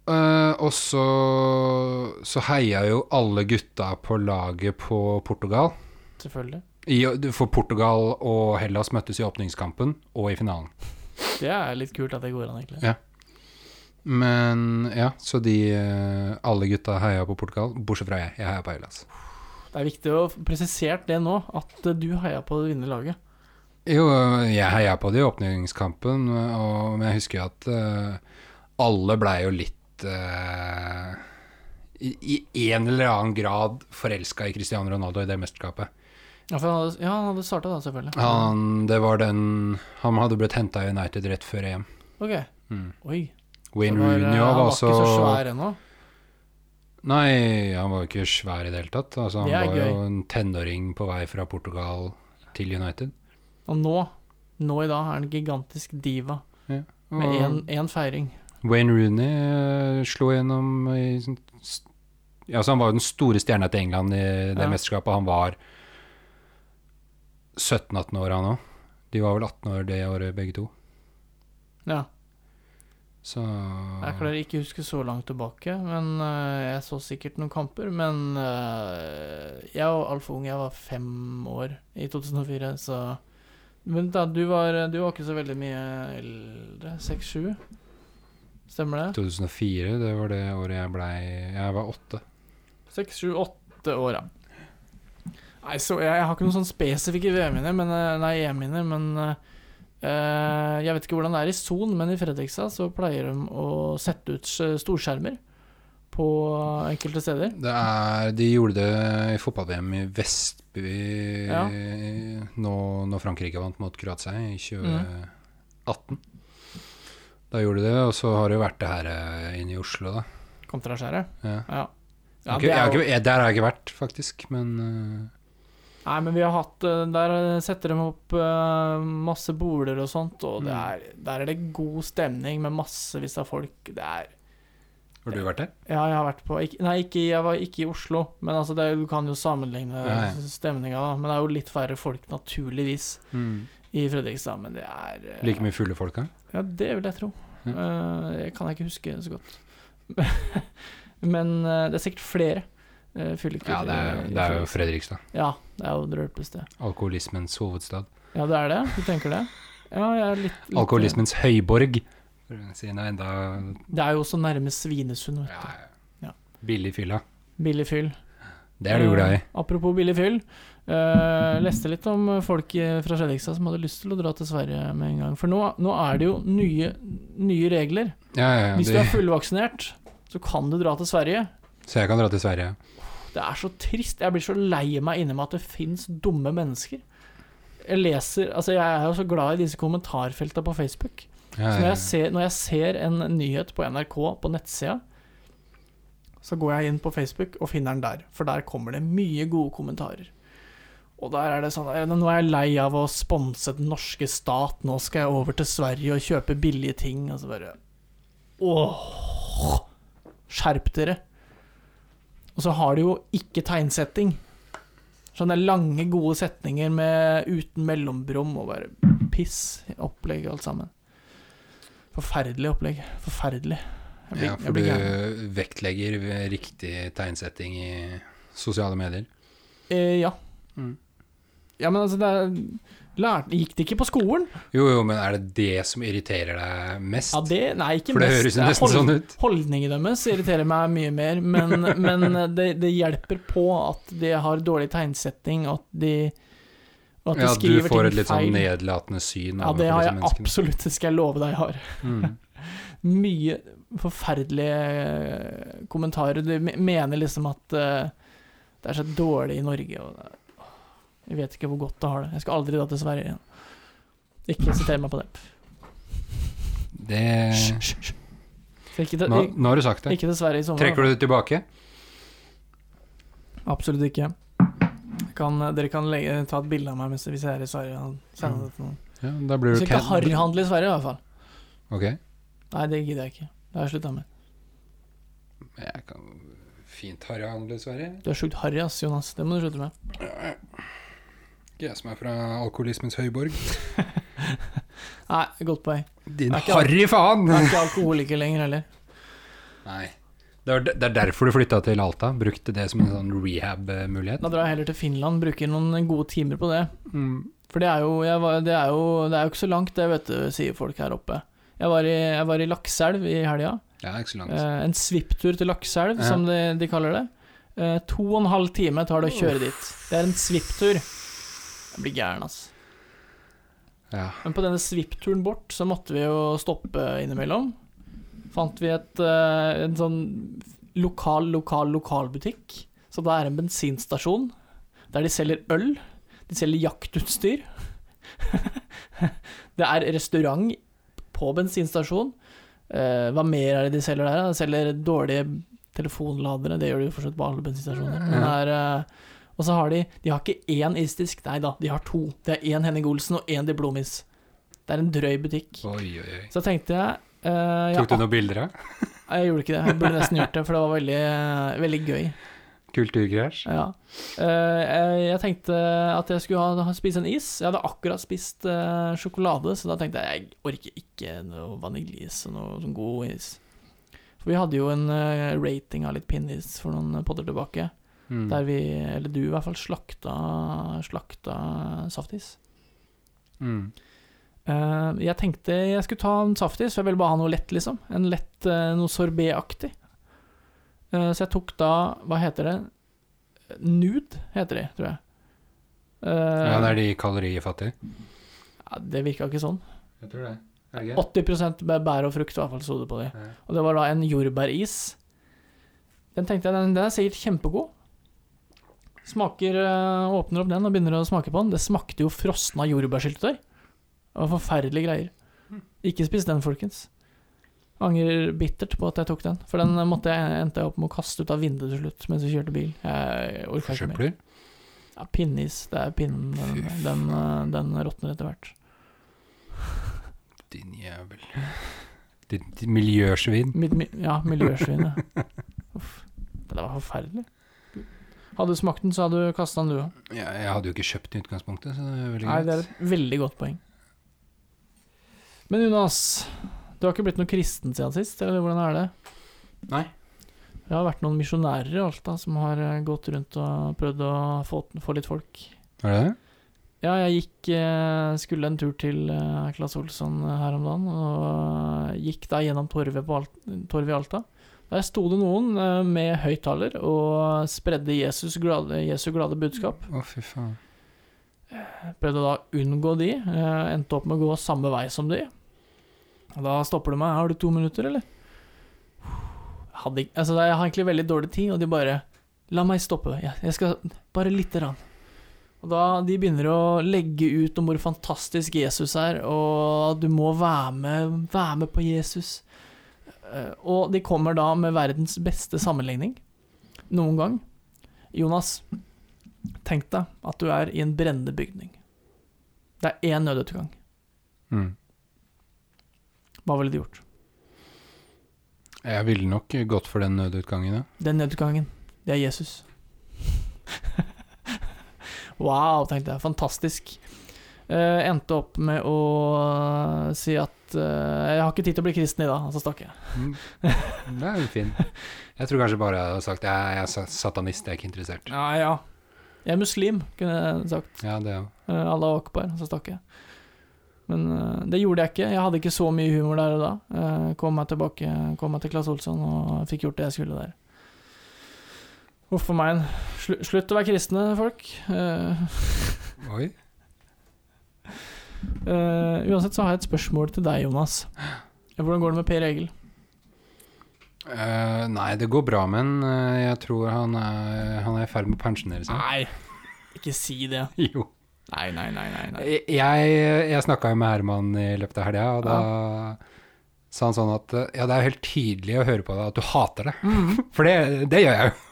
S2: Eh, og så, så heia jo alle gutta på laget på Portugal.
S1: Selvfølgelig.
S2: I, for Portugal og Hellas møttes i åpningskampen og i finalen.
S1: Det er litt kult at det går an, egentlig.
S2: Ja. Men ja, så de eh, Alle gutta heia på Portugal, bortsett fra jeg. Jeg heia på Hellas.
S1: Det er viktig å få presisert det nå, at eh, du heia på det vinnende laget.
S2: Jo, jeg heia på det i åpningskampen, og, men jeg husker jo at eh, alle blei jo litt eh, i, I en eller annen grad forelska i Cristiano Ronaldo i det mesterskapet.
S1: Ja, for han hadde, ja, han hadde starta da, selvfølgelig.
S2: Han, det var den, han hadde blitt henta i United rett før EM.
S1: Ok.
S2: Mm.
S1: Oi.
S2: Wayne
S1: Det var, eh,
S2: Rooney også
S1: han
S2: var
S1: var
S2: også
S1: ikke så svær ennå.
S2: Nei, han var jo ikke svær i det hele tatt. Altså, han
S1: Det er
S2: var jo
S1: gøy.
S2: en tenåring på vei fra Portugal til United.
S1: Og nå, nå i dag, er han en gigantisk diva
S2: Og
S1: med én feiring.
S2: Wayne Rooney eh, slo gjennom i sånn s- ja, så Han var jo den store stjerna til England i det
S1: Ja.
S2: mesterskapet. Han var 17-18 år, han òg. De var vel 18 år det året, begge to.
S1: Ja.
S2: Så Mm.
S1: Jeg klarer ikke å huske så langt tilbake, men øh, jeg så sikkert noen kamper. Men øh, jeg var altfor ung, jeg var fem år i 2004, så Men da, du var, du var ikke så veldig mye eldre? Seks-sju? Stemmer det?
S2: 2004, det var det året jeg blei Jeg var åtte.
S1: Seks-sju-åtte år, ja. Nei, så jeg, jeg har ikke noen sånn spesifikke VM-minner, men øh, Nei, EM-minner, men øh, jeg vet ikke hvordan det er i Son, men i Fredrikstad så pleier de å sette ut øh, storskjermer på enkelte steder.
S2: Det er, de gjorde det i fotball-VM i Vestby
S1: Ja. Mm.
S2: nå, når Frankrike vant mot Kroatia i 2018. Da gjorde de det, og så har det jo vært det her eh, inne i Oslo, da.
S1: Kontraskjæret?
S2: Ja.
S1: Ja.
S2: Jeg
S1: ja
S2: har ikke-
S1: det
S2: jeg har
S1: er jo,
S2: ikke, jeg, der har jeg ikke vært, faktisk, men eh,
S1: nei, men vi har hatt eh, Der eh, setter de opp eh, masse boler og sånt, og det er, der er det god stemning med massevis av folk. Det er
S2: eh, Har du vært der?
S1: Ja, jeg har vært på ikke, Nei, ikke, jeg var ikke i Oslo, men altså, det er, jo- du kan jo sammenligne
S2: Ja, ja.
S1: stemninga, da. Men det er jo litt færre folk, naturligvis, i Fredrikstad, men det er eh,
S2: Mm. Like mye fulle folk her?
S1: Ja, det vil jeg tro.
S2: Ja.
S1: Eh, jeg kan ikke huske så godt. men eh, det er sikkert flere uh, fyllekur.
S2: Ja, det er,
S1: i- i
S2: Eh, det er jo
S1: Fredrikstad.
S2: Fredrikstad.
S1: Ja, det er jo det røpeste.
S2: Alkoholismens hovedstad.
S1: Ja, det er det? Du tenker det? Ja, jeg er litt, litt
S2: Alkoholismens høyborg, for å si det enda
S1: eh, Det er jo også nærme Svinesund, vet du.
S2: ja,
S1: Ja.
S2: Billig fylla.
S1: Billig fyll.
S2: Det er du glad i.
S1: Eh, apropos billig fyll. eh, leste litt om eh, folk eh, fra Fredrikstad som hadde lyst til å dra til Sverige med en gang. For nå, nå er det jo nye, nye regler.
S2: Ja, ja, ja,
S1: Hvis du er
S2: de,
S1: fullvaksinert, så kan du dra til Sverige.
S2: så jeg kan dra til Sverige.
S1: Det er så trist. Jeg blir så lei meg inni meg at det fins dumme mennesker. Jeg leser Altså, jeg er jo så glad i disse kommentarfelta på Facebook.
S2: Ja,
S1: Så når
S2: ja, ja.
S1: jeg, ser, når jeg ser en nyhet på NRK på nettsida, så går jeg inn på Facebook og finner den der. For der kommer det mye gode kommentarer. Og der er det sånn «Eh, Nå er jeg lei av å sponse den norske stat, nå skal jeg over til Sverige og kjøpe billige ting. Og så bare Åh! Skjerp dere! Og så har de jo ikke tegnsetting. Sånne lange, gode setninger med, uten mellombrom og bare piss. Opplegg alt sammen. Forferdelig opplegg. Forferdelig. Jeg blir,
S2: Ja,
S1: jeg
S2: for
S1: blir gæren.
S2: du vektlegger riktig tegnsetting i sosiale medier.
S1: Eh, ja.
S2: Mm.
S1: ja, men altså, det er Lærte, gikk det ikke på skolen?
S2: Jo, jo, men er det det som irriterer deg mest?
S1: Ja, det, nei, ikke
S2: for det
S1: mest.
S2: høres jo
S1: er
S2: nesten
S1: hold-
S2: sånn ut.
S1: Holdningen deres irriterer meg mye mer, men, men det, det hjelper på at de har dårlig tegnsetting, og at de, og at de
S2: Ja, du
S1: skriver
S2: får et
S1: ting
S2: litt sånn
S1: feil.
S2: nedlatende syn
S1: ja,
S2: overfor
S1: det har
S2: disse
S1: jeg
S2: menneskene.
S1: absolutt, det skal jeg love deg jeg har.
S2: Mm.
S1: Mye forferdelige kommentarer. De me- mener liksom at eh, det er så dårlig i Norge, og det, jeg vet ikke hvor godt det har det. Jeg skal aldri dra til Sverige igjen. Ikke siter meg på det.
S2: Det
S1: Hysj, hysj, hysj. Så Ikke til,
S2: nå, nå har du sagt det.
S1: ikke til Sverige i sommer. da.
S2: Trekker du det tilbake?
S1: Absolutt ikke. Jeg Kan, eh, dere kan legge, ta et bilde av meg mens, hvis jeg er i Sverige. og sende det til noen.
S2: Ja, da blir
S1: Jeg
S2: Mm. du
S1: skal ikke
S2: cat-
S1: harryhandle i Sverige, i hvert fall.
S2: Ok.
S1: Nei, det gidder jeg ikke. Det har jeg slutta med.
S2: Jeg kan fint harryhandle, Sverre.
S1: Du er sjukt harry, ass, Jonas. Det må du slutte med.
S2: Ikke jeg som er fra alkoholismens høyborg.
S1: Nei, godt poeng.
S2: Din
S1: Er ikke-
S2: harry faen!
S1: Jeg er ikke alkoholiker lenger heller.
S2: Nei. Det er, det er derfor du flytta til Alta. Brukte det som en sånn rehab-mulighet.
S1: Da drar jeg heller til Finland, bruker noen gode timer på det.
S2: Mm.
S1: For det er jo, jeg var, det er jo, det er jo ikke så langt, det, vet du, sier folk her oppe. Jeg var i, jeg var i Lakselv i helga.
S2: Ja, ikke så langt.
S1: Eh, en svipptur til Lakselv,
S2: Ja.
S1: som de, de kaller det. Eh, to og en halv time tar det å kjøre dit. Det er en svipptur. Jeg blir gæren, ass.
S2: Ja.
S1: Men på denne svippturen bort så måtte vi jo stoppe innimellom. Fant vi et, eh, en sånn lokal, lokal, lokalbutikk. Så det er en bensinstasjon der de selger øl. De selger jaktutstyr. det er restaurant på bensinstasjon. Eh, hva mer er det de selger der? da? De selger dårlige telefonladere. Det gjør de jo fortsatt på alle bensinstasjoner. Men det er, eh, og så har de De har ikke én isdisk, nei da, de har to. Det er én Henning Olsen og én Diplomis. Det er en drøy butikk.
S2: Oi, oi, oi.
S1: Så tenkte jeg eh, ja,
S2: Tok du noen bilder av?
S1: Nei, Jeg gjorde ikke det. Jeg burde nesten gjort det, for det var veldig, veldig gøy.
S2: Kulturkrasj?
S1: Ja. Eh, jeg tenkte at jeg skulle ha, ha, spise en is. Jeg hadde akkurat spist eh, sjokolade, så da tenkte jeg jeg orker ikke noe vaniljeis og noe sånn god is. For vi hadde jo en eh, rating av litt pinneis for noen podder tilbake,
S2: Mm.
S1: der vi, eller du i hvert fall, slakta, slakta saftis.
S2: Mm.
S1: Eh, jeg tenkte jeg skulle ta en saftis, for jeg ville bare ha noe lett, liksom. En lett, eh, noe sorbetaktig. Eh, så jeg tok da, hva heter det? Nude heter de, tror jeg. Eh,
S2: Ja, det er de kalorifattige.
S1: ja, det virka ikke sånn.
S2: Jeg tror det. Er det
S1: 80 med bær og frukt, i hvert fall, sto det på de.
S2: Ja.
S1: Og det var da en jordbæris. Den tenkte jeg, den, den er sikkert kjempegod. Smaker, eh, Åpner opp den og begynner å smake på den. Det smakte jo frosna jordbærsyltetøy. Det var forferdelige greier. Ikke spis den, folkens. Angrer bittert på at jeg tok den, for den måtte jeg, endte jeg opp med å kaste ut av vinduet til slutt mens vi kjørte bil. Jeg orka ikke mer.
S2: Forsøpler?
S1: Ja, pinneis. Det er pinnen. Den,
S2: Fy
S1: den, eh, den råtner etter hvert.
S2: Din jævel. Ditt ditt miljøsvin.
S1: Mitt, mi, ja, miljøsvin, ja. Uff. Det der var forferdelig. Hadde du smakt den, så hadde du kasta den, du òg.
S2: Ja, jeg hadde jo ikke kjøpt den i utgangspunktet, så det er veldig
S1: Nei,
S2: greit.
S1: det er et veldig godt poeng. Men Jonas, du har ikke blitt noe kristen siden sist, eller hvordan er det?
S2: Nei.
S1: Det har vært noen misjonærer i Alta som har eh, gått rundt og prøvd å få, få litt folk.
S2: Var det det?
S1: Ja, jeg gikk eh, skulle en tur til eh, Claes Olsson her om dagen, og eh, gikk da gjennom torvet, på Alt torvet i Alta. Der sto det noen eh, med høyttaler og spredde Jesus glade, Jesu glade budskap.
S2: Å, fy faen.
S1: Prøvde da å unngå de, eh, endte opp med å gå samme vei som de. Og Da stopper de meg. 'Har du to minutter, eller?' Jeg Hadde, ikke- altså, jeg har egentlig veldig dårlig tid, og de bare 'La meg stoppe. Jeg, jeg skal Bare lite grann.' Og da de begynner å legge ut om hvor fantastisk Jesus er, og du må være med, være med på Jesus. Eh, Og de kommer da med verdens beste sammenligning noen gang. Jonas, Tenk deg at du er i en brennende bygning. Det er én nødutgang.
S2: Mm.
S1: Hva ville du gjort?
S2: Jeg ville nok gått for den nødutgangen, ja.
S1: Den nødutgangen, det er Jesus. Wow, tenkte jeg. Fantastisk. Eh, endte opp med å si at eh, jeg har ikke tid til å bli kristen i dag, og så stakk jeg.
S2: Mm. Det er jo fin. Jeg tror kanskje bare jeg hadde sagt jeg, jeg er sa- satanist, jeg er ikke interessert.
S1: Ja, ja. Jeg er muslim, kunne jeg sagt.
S2: Ja, det òg.
S1: Eh, Allah akbar, og så stakk jeg. Men eh, det gjorde jeg ikke. Jeg hadde ikke så mye humor der og da. Eh, kom meg tilbake, kom meg til Claes Olsson og fikk gjort det jeg skulle der. Huff a meg. Slu, slutt å være kristne, folk. Eh,
S2: Oi.
S1: Eh, uansett så har jeg et spørsmål til deg, Jonas. Hvordan går det med Per Egil?
S2: Eh, nei, det går bra, men eh, jeg tror han er, han er i ferd med å pensjonere seg.
S1: Nei, ikke si det.
S2: Jo.
S1: Nei, nei, nei. nei, nei.
S2: Jeg, jeg snakka jo med Herman i løpet av helga, og da sa han sånn at eh, ja, det er jo helt tydelig å høre på deg at du hater det. For det, det gjør jeg jo.
S1: Eh, mm.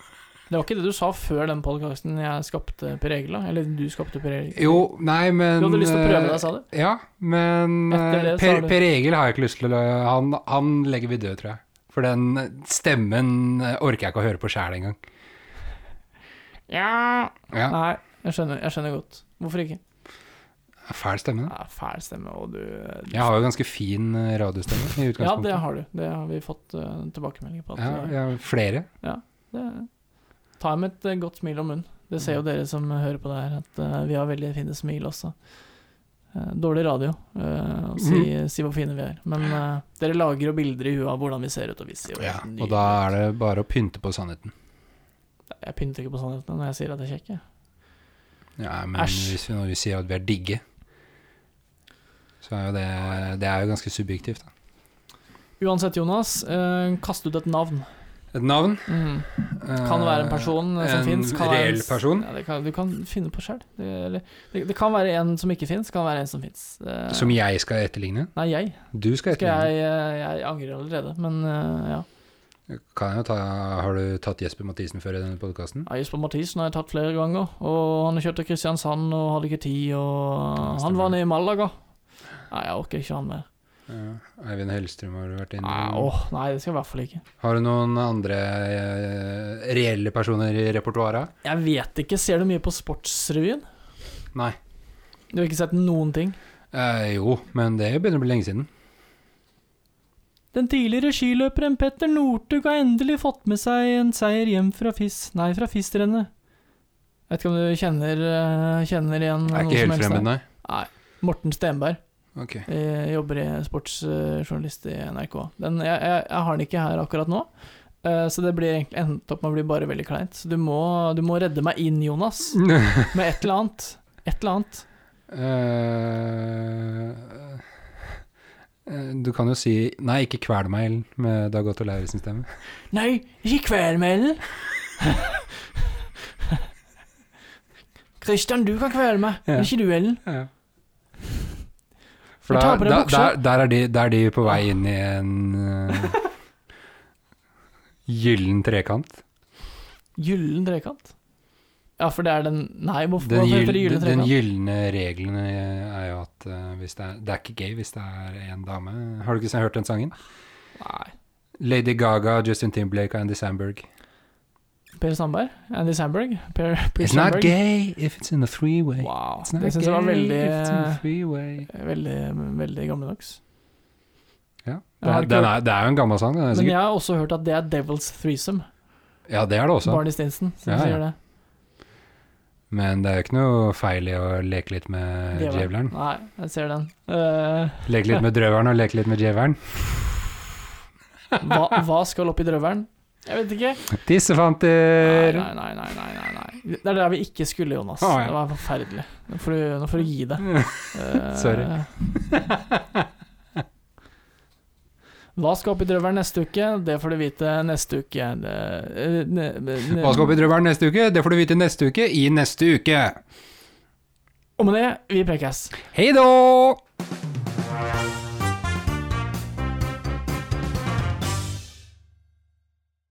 S1: Det var ikke det du sa før den podkasten jeg skapte Per Egil, da? Eller du skapte Per Egil?
S2: Jo, nei, men
S1: Du hadde lyst til å prøve
S2: eh,
S1: deg, sa du?
S2: Ja, men
S1: Etter
S2: eh,
S1: det så har
S2: per,
S1: du-
S2: per Egil har jeg ikke lyst til å Han, han legger vi død, tror jeg. For den stemmen eh, orker jeg ikke å høre på sjæl engang.
S1: Ja.
S2: Ja,
S1: Nei, jeg skjønner, jeg skjønner godt. Hvorfor ikke?
S2: fæl stemme, det.
S1: Ja, fæl stemme, og du
S2: Jeg har jo ganske fin eh, radiostemme i
S1: Ja,
S2: utgangspunktet.
S1: det har du. Det har vi fått uh, tilbakemeldinger på. At, eh,
S2: Ja, ja, flere.
S1: Det, ta med et eh, godt smil om munnen. Det ser jo dere som hører på det her, at eh, vi har veldig fine smil også. Eh, dårlig radio eh, å si,
S2: Mhm.
S1: si hvor fine vi er, men eh, dere lager jo bilder i huet av hvordan vi ser ut, og vi ser jo
S2: Ja,
S1: helt
S2: og da er det bare å pynte på sannheten.
S1: nydelige ut. Jeg pynter ikke på sannheten når jeg sier at jeg er kjekk. jeg.
S2: Ja, men
S1: Æsj.
S2: hvis vi, når vi sier at vi er digge, så er jo det Det er jo ganske subjektivt, da.
S1: Uansett, Jonas, eh, kast ut et navn.
S2: Et navn
S1: Mm. Kan være en person eh, som fins.
S2: En reell person
S1: Ja, det kan, du kan finne på sjøl. Det, eller- det, det kan være en som ikke fins, kan være en som fins.
S2: eh, som jeg skal etterligne.
S1: Nei, jeg.
S2: Du skal
S1: Skal
S2: etterligne.
S1: jeg, eh, jeg angrer allerede, men eh, ja.
S2: Kan jeg jo ta, har du tatt Jesper Mathisen før i denne podkasten?
S1: Ja, Jesper Mathisen har jeg tatt flere ganger, og han har kjørt til Kristiansand og hadde ikke tid, og han var nede i Malaga. Nei, jeg orker ikke han mer.
S2: Ja. Eh, Eivind Hellstrøm har du vært
S1: Nei,
S2: innom.
S1: Ah, åh, nei, det skal jeg i hvert fall ikke.
S2: Har du noen andre eh, reelle personer i repertoaret?
S1: Jeg vet ikke, ser du mye på Sportsrevyen?
S2: Nei.
S1: Du har ikke sett noen ting?
S2: Eh, jo, men det begynner å bli lenge siden.
S1: Den tidligere skiløperen Petter Northug har endelig fått med seg en seier hjem fra FIS... Nei, fra FIS-rennet. Vet ikke om du kjenner, eh, kjenner igjen
S2: Jeg er ikke helt fremmed,
S1: der.
S2: nei.
S1: Morten Stenberg.
S2: Ok.
S1: Jeg jobber i sportsjournalist i NRK. Den, jeg, jeg, jeg har den ikke her akkurat nå, eh, så det blir egentlig endt opp med å bli bare veldig kleint. Så du må, du må redde meg inn, Jonas, med et eller annet. Et eller annet.
S2: Eh, eh, Du kan jo si Nei, ikke kvel meg, Ellen, med Dag Otto Lauritzen-stemme.
S1: Nei, ikke kvelmelen! Christian, du kan kvele meg,
S2: Ja.
S1: men ikke du, Ellen.
S2: For
S1: Jeg
S2: da,
S1: tar på deg
S2: da,
S1: buksa.
S2: der, der, er de, der er de på vei inn i en uh, gyllen trekant.
S1: Gyllen trekant? Ja, for det er den Nei, hvorfor
S2: Den,
S1: hvorfor
S2: gyll,
S1: heter det gyllen
S2: den
S1: trekant?
S2: gylne regelen er jo at eh, hvis det, er, det er ikke gay hvis det er én dame. Har du ikke hørt den sangen?
S1: Nei.
S2: Lady Gaga, Justin Timberlake og Andy Sandberg.
S1: Per Sandberg? Andy Sandberg? Per, per
S2: It's not
S1: Sandberg?
S2: gay if it's in a three-way.
S1: Wow.
S2: It's not
S1: Det syns jeg var
S2: gay
S1: veldig eh,
S2: if it's in a three-way.
S1: Veldig, veldig gammeldags.
S2: Ja.
S1: Jeg har
S2: Det,
S1: ikke
S2: den
S1: hørt-
S2: er, det er jo en gammel sang, den er
S1: Men
S2: sikkert.
S1: jeg har også hørt at det er Devil's Threesome.
S2: Ja, det er det også.
S1: Barney Stinson som
S2: Ja, Eh, ja.
S1: sier det.
S2: Men det er jo ikke noe feil i å leke litt med
S1: Djevelen.
S2: djevelen.
S1: Nei, jeg ser den. Eh,
S2: Leke litt med drøveren og leke litt med djevelen.
S1: hva, hva skal opp i drøvelen? Jeg vet ikke. Nei,
S2: Tissefanter!
S1: nei, nei, nei, nei, nei, nei. Det er der vi ikke skulle, Jonas.
S2: Å, Eh, Ah, ja.
S1: Det var forferdelig. Nå får du, nå får du gi deg. Eh,
S2: Sorry.
S1: Hva skal opp i drøvelen neste uke? Det får du vite neste uke. Eh, ne- ne- ne-
S2: Hva skal opp i drøveren neste uke? Det får du vite neste uke i neste uke.
S1: Og med det, vi prekes.
S2: Hei då!